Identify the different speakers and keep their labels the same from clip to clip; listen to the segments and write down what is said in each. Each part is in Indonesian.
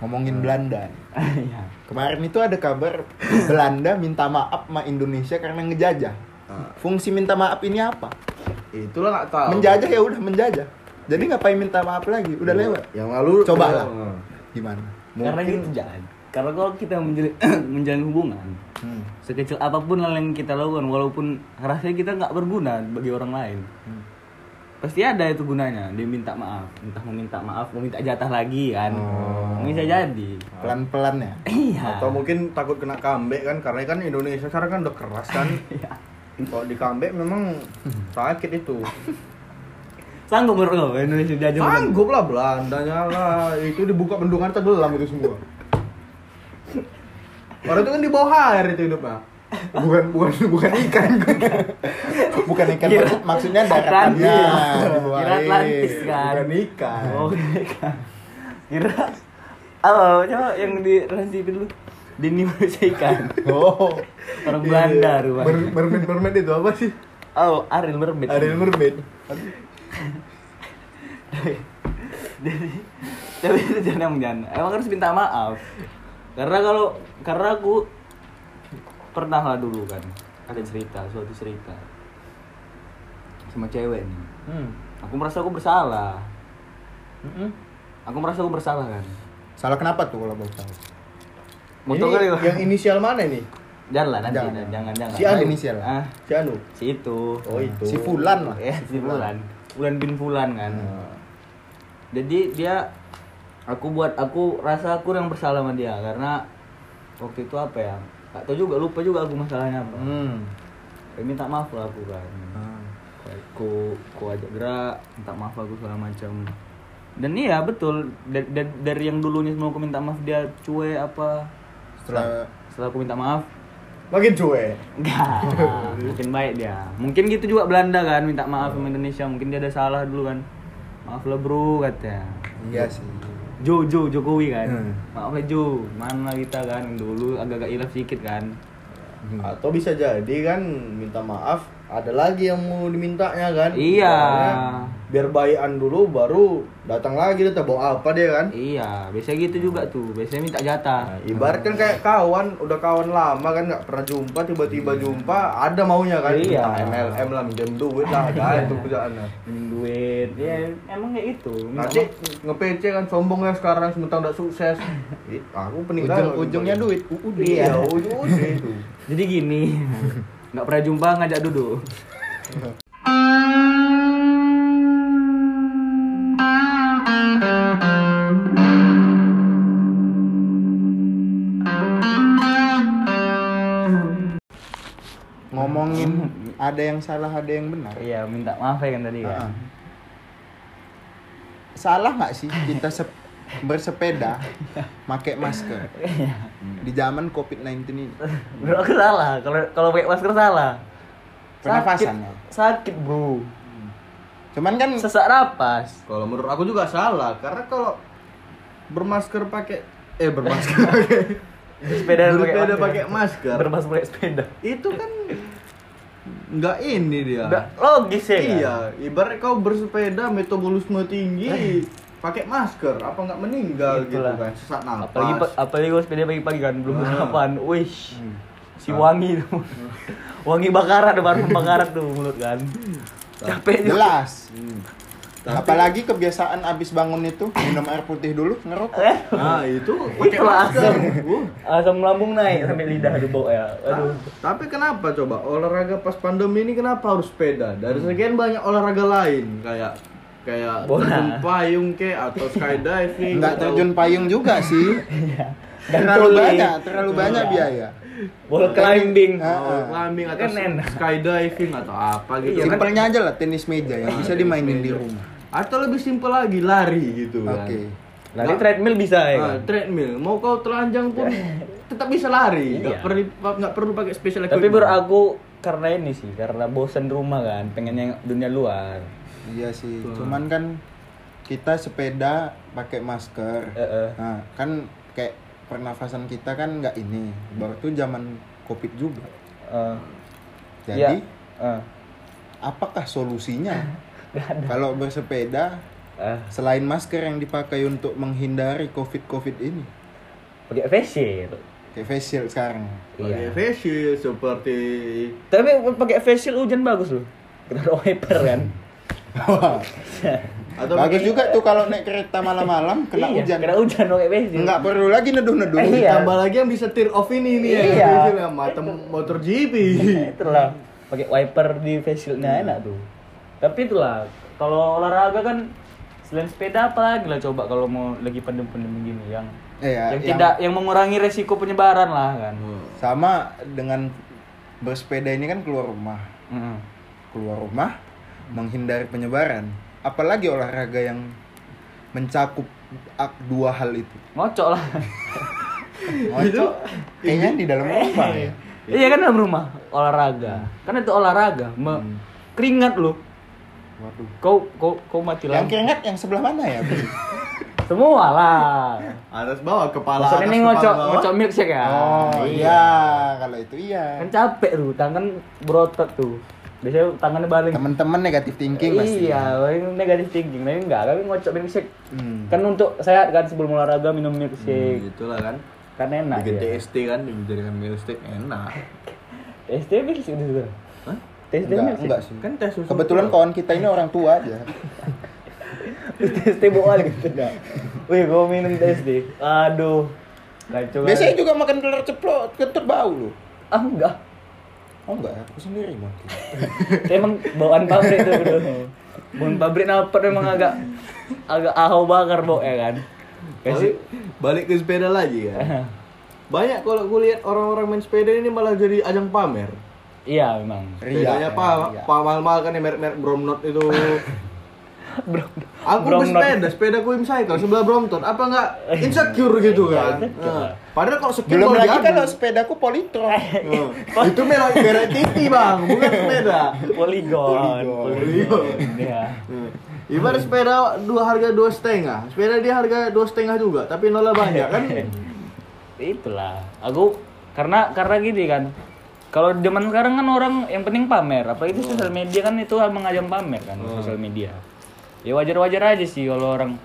Speaker 1: ngomongin Belanda.
Speaker 2: Hmm. Iya.
Speaker 1: Kemarin itu ada kabar Belanda minta maaf sama Indonesia karena ngejajah.
Speaker 3: Ah.
Speaker 1: Fungsi minta maaf ini apa?
Speaker 3: Itulah nggak tahu.
Speaker 1: Menjajah ya udah menjajah. Jadi ngapain minta maaf lagi?
Speaker 3: Iya.
Speaker 1: Udah lewat.
Speaker 3: Yang lalu
Speaker 1: Coba
Speaker 3: udah-
Speaker 1: lah. Gimana?
Speaker 2: Karena gitu jalan. Karena kalau kita menjalin, menjalin hubungan,
Speaker 3: Ah.
Speaker 1: Hmm.
Speaker 2: sekecil apapun hal yang kita lakukan, walaupun rasanya kita nggak berguna bagi orang lain,
Speaker 1: Hmm.
Speaker 2: pasti ada itu gunanya. Dia minta maaf, entah mau minta maaf, mau minta jatah lagi kan, bisa jadi.
Speaker 1: Pelan-pelan ya.
Speaker 2: Iya.
Speaker 3: Oh. Atau mungkin takut kena comeback kan karena kan Indonesia sekarang kan udah keras kan.
Speaker 1: Iya.
Speaker 3: Kalau di comeback memang
Speaker 1: Hmm.
Speaker 3: sakit itu.
Speaker 2: sanggup menurut lo Indonesia
Speaker 1: Iya,
Speaker 2: dijajah?
Speaker 3: Sanggup lah Belandanya lah. Itu dibuka bendungan tenggelam itu semua. Orang itu kan di bawah air itu hidupnya. Bukan bukan bukan ikan.
Speaker 1: Bukan ikan
Speaker 2: Kira-
Speaker 1: maksud- maksudnya
Speaker 2: Atlantis.
Speaker 1: daratannya. di bawah
Speaker 2: Kira
Speaker 1: air.
Speaker 2: Atlantis
Speaker 3: Iya,
Speaker 2: kan.
Speaker 3: Bukan ikan.
Speaker 2: Oh, kan. Kira apa coba yang di resipi dulu Dini manusia ikan
Speaker 1: Oh.
Speaker 2: Orang Belanda
Speaker 3: Iya.
Speaker 2: rumah
Speaker 3: Mer- Mermaid mermaid itu apa sih?
Speaker 2: Oh, Ariel Mermaid
Speaker 3: Ariel mermaid.
Speaker 2: Jadi, tapi itu jangan jangan Emang harus minta maaf Karena kalau, karena aku Pernah lah dulu kan Ada cerita, suatu cerita Sama cewek nih
Speaker 1: Hmm.
Speaker 2: Aku merasa aku bersalah
Speaker 1: Mm-mm.
Speaker 2: Aku merasa aku bersalah kan
Speaker 1: Salah kenapa tuh kalau boleh tahu?
Speaker 2: Mau
Speaker 3: Ini
Speaker 2: tau kali
Speaker 3: yang inisial mana nih?
Speaker 2: Jangan lah nanti,
Speaker 1: Jangan.
Speaker 2: jangan, jangan, jangan.
Speaker 3: Si Anu.
Speaker 1: Inisial.
Speaker 2: Ah,
Speaker 3: Si Anu.
Speaker 2: si itu.
Speaker 3: Oh itu.
Speaker 1: Si Fulan lah.
Speaker 2: Ya, si Bulan. Bulan bin Bulan kan.
Speaker 3: Hmm.
Speaker 1: Ah.
Speaker 2: Jadi dia aku buat aku rasa aku yang bersalah sama dia karena waktu itu apa ya? Gak tau juga, lupa juga aku masalahnya apa.
Speaker 1: Hmm.
Speaker 2: Ya, minta maaf lah aku kan. Aku, aku ajak gerak, minta maaf aku segala macam. Dan iya betul da- da- dari yang dulunya semua aku minta maaf dia cuek apa
Speaker 1: Setelah
Speaker 2: setelah aku minta maaf
Speaker 3: Makin cuek.
Speaker 2: Enggak, mungkin baik dia. Mungkin gitu juga Belanda kan, minta maaf sama Indonesia. Mungkin dia ada salah dulu kan. Maaf lah bro, katanya.
Speaker 1: iya sih.
Speaker 2: Jo, Jo, Jokowi kan.
Speaker 1: Hmm.
Speaker 2: Maaf lah Jo, mana kita kan. Dulu agak-agak hilaf sedikit kan.
Speaker 3: Atau bisa jadi kan minta maaf ada lagi yang mau dimintanya kan?
Speaker 2: Iya.
Speaker 3: Soalnya Biar bayan dulu baru datang lagi dia bawa apa dia kan?
Speaker 2: Iya, biasanya gitu juga tuh. Biasanya minta jatah.
Speaker 3: Nah, ibarat kan kayak kawan, udah kawan lama kan nggak pernah jumpa, tiba-tiba jumpa ada maunya kan?
Speaker 2: Iya.
Speaker 3: Minta MLM lah, minjem duit lah, ada itu kerjaannya.
Speaker 2: Minjem duit. Ya, emang kayak itu. Minta
Speaker 3: Nanti
Speaker 2: maaf.
Speaker 3: nge-PC kan sombong ya sekarang sementara nggak sukses. Ih, aku peninggalan.
Speaker 1: Ujung-ujungnya duit. UUD
Speaker 3: Iya,
Speaker 1: ya.
Speaker 3: ujung-ujungnya itu.
Speaker 2: Jadi gini, nggak pernah jumpa ngajak duduk.
Speaker 1: Ngomongin ada yang salah, ada yang benar.
Speaker 2: Iya, minta maaf ya kan tadi
Speaker 1: Ah, ah.
Speaker 2: kan.
Speaker 1: Salah nggak sih kita sep- bersepeda pakai masker di zaman COVID-19 ini?
Speaker 2: Bro, aku salah. Kalau kalau pakai masker salah.
Speaker 1: Pernafasan, ya?
Speaker 2: Sakit, sakit bro.
Speaker 1: Cuman kan
Speaker 2: Sesak napas.
Speaker 3: Kalau menurut aku juga salah, karena kalau bermasker pakai eh bermasker pakai
Speaker 2: Sepeda
Speaker 3: bersepeda pakai masker
Speaker 2: Bermas pakai sepeda.
Speaker 3: itu kan nggak ini dia.
Speaker 2: Nggak logis ya. kan?
Speaker 3: iya, ibarat kau bersepeda metabolisme tinggi pakai masker, apa nggak meninggal
Speaker 2: Itulah.
Speaker 3: gitu kan? Sesak napas.
Speaker 2: Apalagi pa- apalagi kalau sepeda pagi-pagi kan belum
Speaker 1: Hmm.
Speaker 3: Ah.
Speaker 2: sarapan. Wish. Si wangi tuh. wangi bakaran, ada parfum bakaran tuh mulut kan.
Speaker 1: Hmm.
Speaker 2: Capek juga.
Speaker 1: jelas.
Speaker 3: Hmm.
Speaker 1: Apalagi kebiasaan abis bangun itu minum air putih dulu ngerokok.
Speaker 2: Eh,
Speaker 3: Nah, itu pakai
Speaker 2: itulah
Speaker 3: masker.
Speaker 2: asam.
Speaker 3: Uh,
Speaker 2: Ah, Asam lambung naik sampai lidah aduh bau ya.
Speaker 1: Ah.
Speaker 2: Aduh.
Speaker 3: Tapi kenapa coba olahraga pas pandemi ini kenapa harus sepeda? Dari sekian banyak olahraga lain kayak kayak
Speaker 2: Hmm. Bola.
Speaker 3: terjun payung ke atau skydiving
Speaker 1: Nggak
Speaker 3: atau-
Speaker 1: terjun payung juga sih.
Speaker 2: Dan
Speaker 1: Terlalu
Speaker 2: tuli.
Speaker 1: banyak, terlalu banyak biaya.
Speaker 2: Wall climbing.
Speaker 1: Ah,
Speaker 3: atau climbing atau
Speaker 2: Kan enak.
Speaker 3: skydiving atau apa gitu.
Speaker 2: Iya, kan?
Speaker 1: Simpelnya aja lah tenis meja yang bisa dimainin di rumah.
Speaker 3: Atau lebih simpel lagi lari gitu kan.
Speaker 1: Oke.
Speaker 2: Lari treadmill bisa ya.
Speaker 3: Ah,
Speaker 2: kan?
Speaker 3: treadmill, mau kau telanjang pun tetap bisa lari, nggak
Speaker 2: Iya.
Speaker 3: perlu nggak perlu pakai
Speaker 1: Ah.
Speaker 3: special
Speaker 2: Tapi
Speaker 3: equipment.
Speaker 2: bro aku karena ini sih, karena bosen rumah kan, pengennya dunia luar.
Speaker 1: Iya sih. Cuman kan kita sepeda pakai masker.
Speaker 2: Eh, eh.
Speaker 1: Nah, kan kayak pernafasan kita kan nggak ini. Baru itu zaman Covid juga.
Speaker 2: Eh,
Speaker 1: Jadi,
Speaker 2: ya, eh.
Speaker 1: apakah solusinya? Kalau bersepeda
Speaker 2: Ah,
Speaker 1: Selain masker yang dipakai untuk menghindari COVID-COVID ini,
Speaker 2: pakai face shield.
Speaker 1: kayak facial sekarang.
Speaker 3: Pakai
Speaker 1: Oh,
Speaker 2: Iya.
Speaker 3: face shield seperti
Speaker 2: Tapi pakai face shield hujan bagus loh. Kena wiper kan.
Speaker 3: atau
Speaker 1: Bagus
Speaker 3: mungkin-
Speaker 1: juga tuh kalau naik kereta malam-malam kena
Speaker 2: Iya,
Speaker 1: hujan.
Speaker 2: Kena hujan pakai face shield.
Speaker 1: Nggak perlu lagi neduh-neduh.
Speaker 2: Eh, iya.
Speaker 3: Tambah lagi yang bisa tear off ini nih
Speaker 2: Iya.
Speaker 3: ya. Iya. Macam motor GP.
Speaker 2: Nah, itulah pakai wiper di face shieldnya enak tuh. Tapi itulah kalau olahraga kan selain sepeda apa lagi lah coba kalau mau lagi pandemi-pandemi gini yang
Speaker 1: Iya,
Speaker 2: yang,
Speaker 1: yang-
Speaker 2: tidak yang mengurangi resiko penyebaran lah kan.
Speaker 1: Sama dengan bersepeda ini kan keluar rumah.
Speaker 2: Mm.
Speaker 1: Keluar rumah menghindari penyebaran. Apalagi olahraga yang mencakup ak- dua hal itu.
Speaker 2: Ngocok lah.
Speaker 1: Itu kayaknya di dalam rumah ya.
Speaker 2: iya kan dalam rumah olahraga. Kan itu olahraga, me- keringat loh.
Speaker 1: Waduh.
Speaker 2: Kau kau kau mati
Speaker 1: Yang
Speaker 2: lampu.
Speaker 1: keringat yang sebelah mana ya? Bro?
Speaker 2: Semua lah.
Speaker 3: Atas bawah kepala
Speaker 2: Maksudnya
Speaker 3: atas
Speaker 2: ini
Speaker 3: kepala
Speaker 2: ngocok
Speaker 3: bawah.
Speaker 2: ngocok milkshake ya.
Speaker 1: Oh iya, kalau itu iya.
Speaker 2: Kan capek tuh, tangan berotot tuh. Biasanya tangannya balik.
Speaker 1: Teman-teman negatif thinking pasti.
Speaker 2: iya, paling negatif thinking. Tapi enggak, kami ngocok milkshake.
Speaker 1: Hmm.
Speaker 2: Kan untuk sehat kan sebelum olahraga minum milkshake.
Speaker 3: Gitulah kan.
Speaker 2: Kan enak.
Speaker 3: Bikin
Speaker 2: Ya.
Speaker 3: TST kan dijadikan milkshake enak.
Speaker 2: TST milkshake itu juga.
Speaker 3: Hah?
Speaker 2: TST
Speaker 1: Enggak,
Speaker 2: milkshake.
Speaker 1: enggak sih.
Speaker 3: Kan tes susu.
Speaker 1: Kebetulan kawan kita ini orang tua aja.
Speaker 2: TST boal gitu enggak. Wih, gua minum TST. Aduh. Kacau.
Speaker 1: Biasanya juga makan telur ceplok, kentut bau lu.
Speaker 2: Ah, enggak.
Speaker 1: Oh enggak, aku sendiri mungkin.
Speaker 2: Emang bawaan pabrik tuh bro. Bawaan pabrik napa memang agak agak ahau bakar bau ya kan.
Speaker 3: Balik,
Speaker 2: Kasih
Speaker 3: balik ke sepeda lagi kan. Banyak kalau gue lihat orang-orang main sepeda ini malah jadi ajang pamer.
Speaker 2: Iya memang.
Speaker 1: Ria.
Speaker 3: Sepedanya pa,
Speaker 1: Ria.
Speaker 3: pa mahal-mahal kan yang merek-merek Bromnot itu.
Speaker 2: Bro.
Speaker 3: Aku
Speaker 2: Bromnot.
Speaker 3: bersepeda, sepeda ku Imcycle sebelah Brompton. Apa enggak insecure gitu kan?
Speaker 2: Iya, insecure.
Speaker 3: Nah, Padahal kalau skill
Speaker 1: Belum
Speaker 3: baru
Speaker 1: lagi
Speaker 3: diadu.
Speaker 1: kalau sepedaku politron.
Speaker 2: Eh.
Speaker 3: Nah, itu merek merek TV bang, bukan sepeda. Kan
Speaker 2: Poligon.
Speaker 3: Poligon.
Speaker 2: Iya.
Speaker 3: Hmm. Ibarat sepeda dua harga dua setengah, sepeda dia harga dua setengah juga, tapi nolnya banyak kan?
Speaker 2: Itulah. Aku karena karena gini kan. Kalau zaman sekarang kan orang yang penting pamer, apa itu sosial media kan itu mengajang pamer kan sosial media. Ya wajar-wajar aja sih kalau orang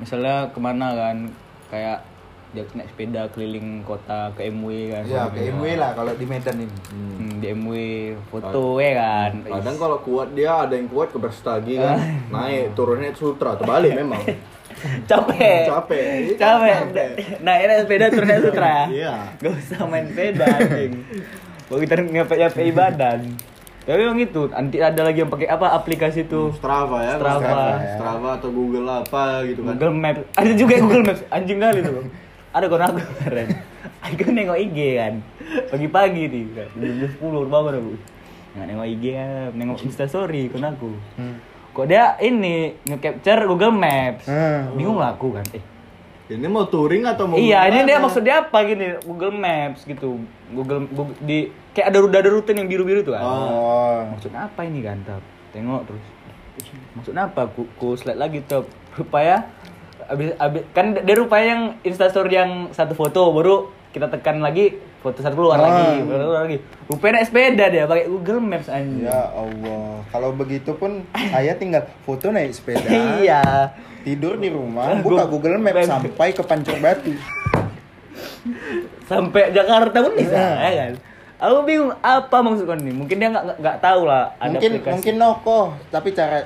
Speaker 2: misalnya kemana kan kayak dia naik sepeda keliling kota ke MW kan.
Speaker 1: Ya,
Speaker 3: Iya,
Speaker 1: ke MW lah kalau di Medan ini.
Speaker 2: Hmm, di MW foto ya kan.
Speaker 3: Kadang kalau kuat dia ada yang kuat ke Brastagi kan, naik turunnya sutra terbalik memang.
Speaker 2: capek.
Speaker 3: Capek. Iya,
Speaker 2: Capek.
Speaker 3: capek.
Speaker 2: Nah, ini sepeda turunnya sutra.
Speaker 3: Iya.
Speaker 2: Gak usah main sepeda anjing. Mau kita ngepek-ngepek badan. Tapi memang itu, nanti ada lagi yang pakai apa aplikasi itu
Speaker 3: Strava ya,
Speaker 2: Strava.
Speaker 3: Strava atau Google apa gitu kan?
Speaker 2: Google Maps. Ada juga yang Google Maps, anjing kali tuh. Ada kon aku keren. Aku nengok IG kan. Pagi-pagi nih, kan. jam 10 udah bangun aku. Nggak nengok IG kan, nengok Insta story kon aku. Kok dia ini nge-capture Google Maps.
Speaker 1: Hmm.
Speaker 2: Bingung lah aku kan. Eh,
Speaker 3: Ini mau touring atau mau
Speaker 2: Iya, ini dia
Speaker 3: gimana?
Speaker 2: maksudnya apa gini? Google Maps gitu. Google, Google- di kayak ada ruda ada rute yang biru-biru tuh kan.
Speaker 1: Oh.
Speaker 2: Maksudnya apa ini kan, Tab? Tengok terus. Maksudnya apa? Ku, ku slide lagi, Tab. Rupanya abis, abis, kan dia rupanya yang instastory yang satu foto baru kita tekan lagi foto satu keluar
Speaker 1: Ah.
Speaker 2: lagi, keluar keluar lagi. Rupanya naik sepeda dia pakai Google Maps anjing.
Speaker 1: Ya Allah, kalau begitu pun saya tinggal foto naik sepeda.
Speaker 2: iya.
Speaker 1: Tidur di rumah, buka Google Maps sampai ke Pancur Batu.
Speaker 2: Sampai Jakarta pun bisa, ya kan? Aku bingung apa maksudnya nih. Mungkin dia nggak nggak- nggak tahu lah ada
Speaker 1: Mungkin
Speaker 2: aplikasi.
Speaker 1: mungkin noko, tapi cara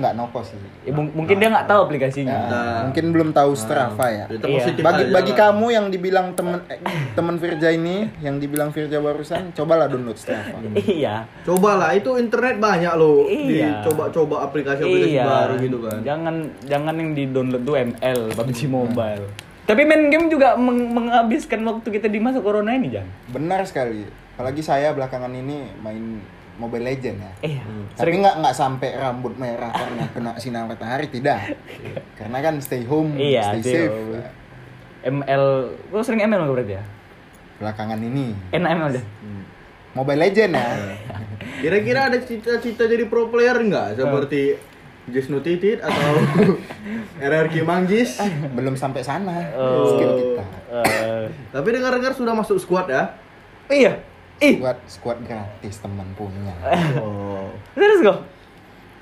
Speaker 1: nggak noko sih.
Speaker 2: Ya, mung- mungkin dia nggak tahu aplikasinya.
Speaker 3: Ah.
Speaker 1: Ya, mungkin belum tahu Strava ya.
Speaker 3: Itu
Speaker 2: Iya.
Speaker 3: positif
Speaker 1: Bagi
Speaker 3: aja
Speaker 1: bagi
Speaker 3: lah.
Speaker 1: kamu yang dibilang temen eh, temen Virja ini, yang dibilang Virja barusan, cobalah download Strava.
Speaker 2: Iya.
Speaker 3: Cobalah itu internet banyak loh.
Speaker 2: Iya.
Speaker 3: Dicoba-coba aplikasi-aplikasi baru gitu kan. Hmm.
Speaker 2: Jangan jangan yang di download tuh ML, PUBG Mobile. Tapi main game juga meng- menghabiskan waktu kita di masa corona ini, Jan.
Speaker 1: Benar sekali. Apalagi saya belakangan ini main Mobile Legend ya.
Speaker 2: Iya.
Speaker 3: Hmm.
Speaker 1: Tapi nggak nggak sampai rambut merah karena kena sinar matahari tidak. Karena kan stay home,
Speaker 2: Iya,
Speaker 1: stay
Speaker 2: stay
Speaker 1: safe.
Speaker 2: home. ML, lu sering ML nggak berarti ya?
Speaker 1: Belakangan ini
Speaker 2: Enak ML aja.
Speaker 3: Hmm.
Speaker 1: Mobile Legend ya.
Speaker 2: Iya.
Speaker 3: Kira-kira ada cita-cita jadi pro player nggak? Seperti Jesnu Titit atau RRQ Manggis?
Speaker 1: Belum sampai sana
Speaker 2: Oh.
Speaker 1: skill kita.
Speaker 2: Eh,
Speaker 3: Tapi dengar-dengar sudah masuk squad ya?
Speaker 2: iya. Ih,
Speaker 1: Squad squad gratis teman punya.
Speaker 3: Oh.
Speaker 2: serius kok?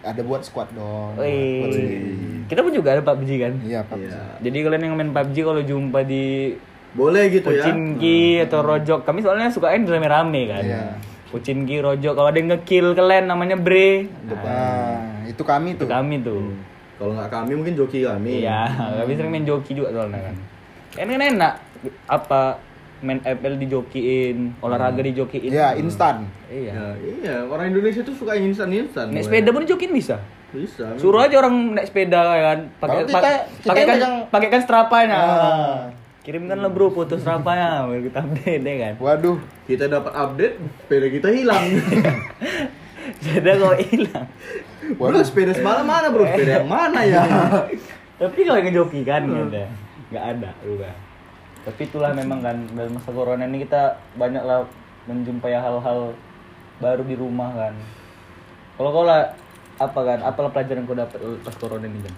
Speaker 1: ada buat squad
Speaker 3: Hmm.
Speaker 1: dong. Buat
Speaker 2: Wih.
Speaker 1: sendiri.
Speaker 2: Kita pun juga ada PUBG kan.
Speaker 1: Iya, Pak.
Speaker 2: Jadi kalian yang main PUBG kalau jumpa di
Speaker 3: Boleh gitu ya.
Speaker 2: Pucinki atau Rojok, kami soalnya suka main rame-rame kan.
Speaker 1: Iya.
Speaker 2: Pucinki, Rojok, kalau ada yang ngekill kalian namanya Bre.
Speaker 1: Nah, itu kami tuh.
Speaker 2: Itu kami tuh.
Speaker 3: Kalau nggak kami mungkin joki kami.
Speaker 2: Iya, kami sering main joki juga soalnya kan. Kan kan enak apa main FL dijokiin, olahraga dijokiin.
Speaker 1: Iya, instan.
Speaker 2: Iya.
Speaker 3: Ya, iya, orang Indonesia tuh suka instan-instan. Boy.
Speaker 2: Naik sepeda pun dijokiin bisa.
Speaker 3: Bisa.
Speaker 2: Suruh aja orang naik sepeda kan, pakai
Speaker 1: Kalau kita- kita
Speaker 2: pakai kan
Speaker 1: pegang-
Speaker 2: pakai kan strapanya.
Speaker 1: Ah.
Speaker 2: Kirimkan lah bro foto strapanya, biar kita update ya kan.
Speaker 1: Waduh,
Speaker 3: Kita dapat update, sepeda kita hilang.
Speaker 2: Sepeda kalau hilang.
Speaker 3: Bro, sepeda semalam mana bro? Sepeda yang mana ya?
Speaker 2: Tapi kalau yang ngejoki kan nggak ada, nggak ada udah. Tapi itulah memang kan dalam masa corona ini kita banyaklah menjumpai hal-hal baru di rumah kan. Kalau kau lah apa kan? Apalah pelajaran kau dapat pas corona ini kan?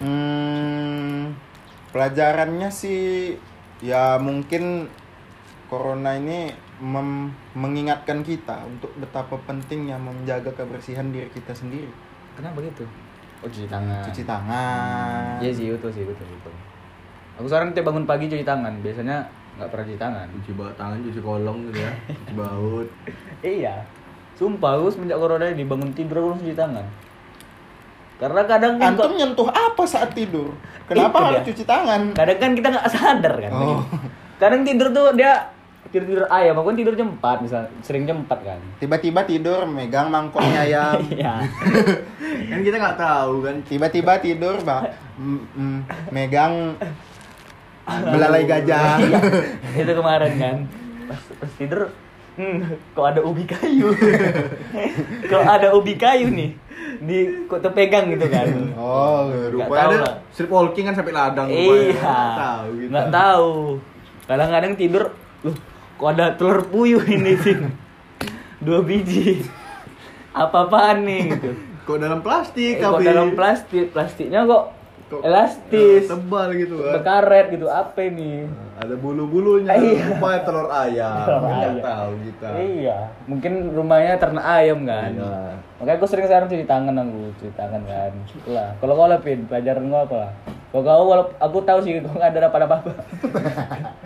Speaker 1: Hmm, pelajarannya sih ya mungkin corona ini mem- mengingatkan kita untuk betapa pentingnya menjaga kebersihan diri kita sendiri.
Speaker 2: Kenapa gitu? Oh cuci tangan.
Speaker 1: Cuci tangan.
Speaker 2: Iya sih betul sih betul betul. Aku sekarang tiap bangun pagi cuci tangan. Biasanya nggak pernah cuci tangan.
Speaker 3: Cuci bawah tangan, cuci kolong gitu ya. Cuci baut.
Speaker 2: Iya. Sumpah aku semenjak corona ini bangun tidur aku langsung cuci tangan. Karena kadang kan
Speaker 1: Antum nyentuh apa saat tidur?
Speaker 2: Itu
Speaker 1: Kenapa harus
Speaker 2: dia.
Speaker 1: cuci tangan?
Speaker 2: kadang kan kita nggak sadar kan.
Speaker 1: Oh.
Speaker 2: Kadang tidur tuh dia tidur tidur ayam, aku kan tidur jam 4 misal sering jam 4 kan.
Speaker 1: Tiba-tiba tidur megang mangkoknya ya. ayam.
Speaker 2: Iya.
Speaker 3: Kan kita nggak tahu kan.
Speaker 1: Tiba-tiba tidur bah, mm, mm, megang belalai gajah.
Speaker 2: Iya. Itu kemarin kan. Pas, pas tidur Hmm, kok ada ubi kayu? kok ada ubi kayu nih? Di kok terpegang gitu kan.
Speaker 1: Oh,
Speaker 3: Rupanya
Speaker 2: tahu
Speaker 3: ada
Speaker 2: lah.
Speaker 3: strip walking kan sampai ladang. rupanya.
Speaker 2: Iya.
Speaker 3: Nggak tahu gitu.
Speaker 2: Nggak tahu. Kadang-kadang tidur, loh, kok ada telur puyuh ini sih? Dua biji. Apa-apaan nih gitu.
Speaker 3: Kok dalam plastik?
Speaker 2: Eh, kok
Speaker 3: tapi-
Speaker 2: dalam plastik, plastiknya kok
Speaker 3: Kok-
Speaker 2: elastis,
Speaker 3: Ya, tebal gitu kan.
Speaker 2: berkaret gitu, apa ini?
Speaker 3: Ada bulu-bulunya.
Speaker 2: Iya.
Speaker 3: Rupanya telur ayam.
Speaker 2: Telur
Speaker 3: Nggak
Speaker 2: ayam.
Speaker 3: tahu kita.
Speaker 2: Iya, mungkin rumahnya ternak ayam kan.
Speaker 3: Iya.
Speaker 2: Makanya aku sering sekarang cuci tangan aku, cuci tangan kan. Itulah. Kalau kau lepin, pelajaran kau apa lah? Kalau kau, walau- aku tahu sih kau nggak ada dapat apa-apa.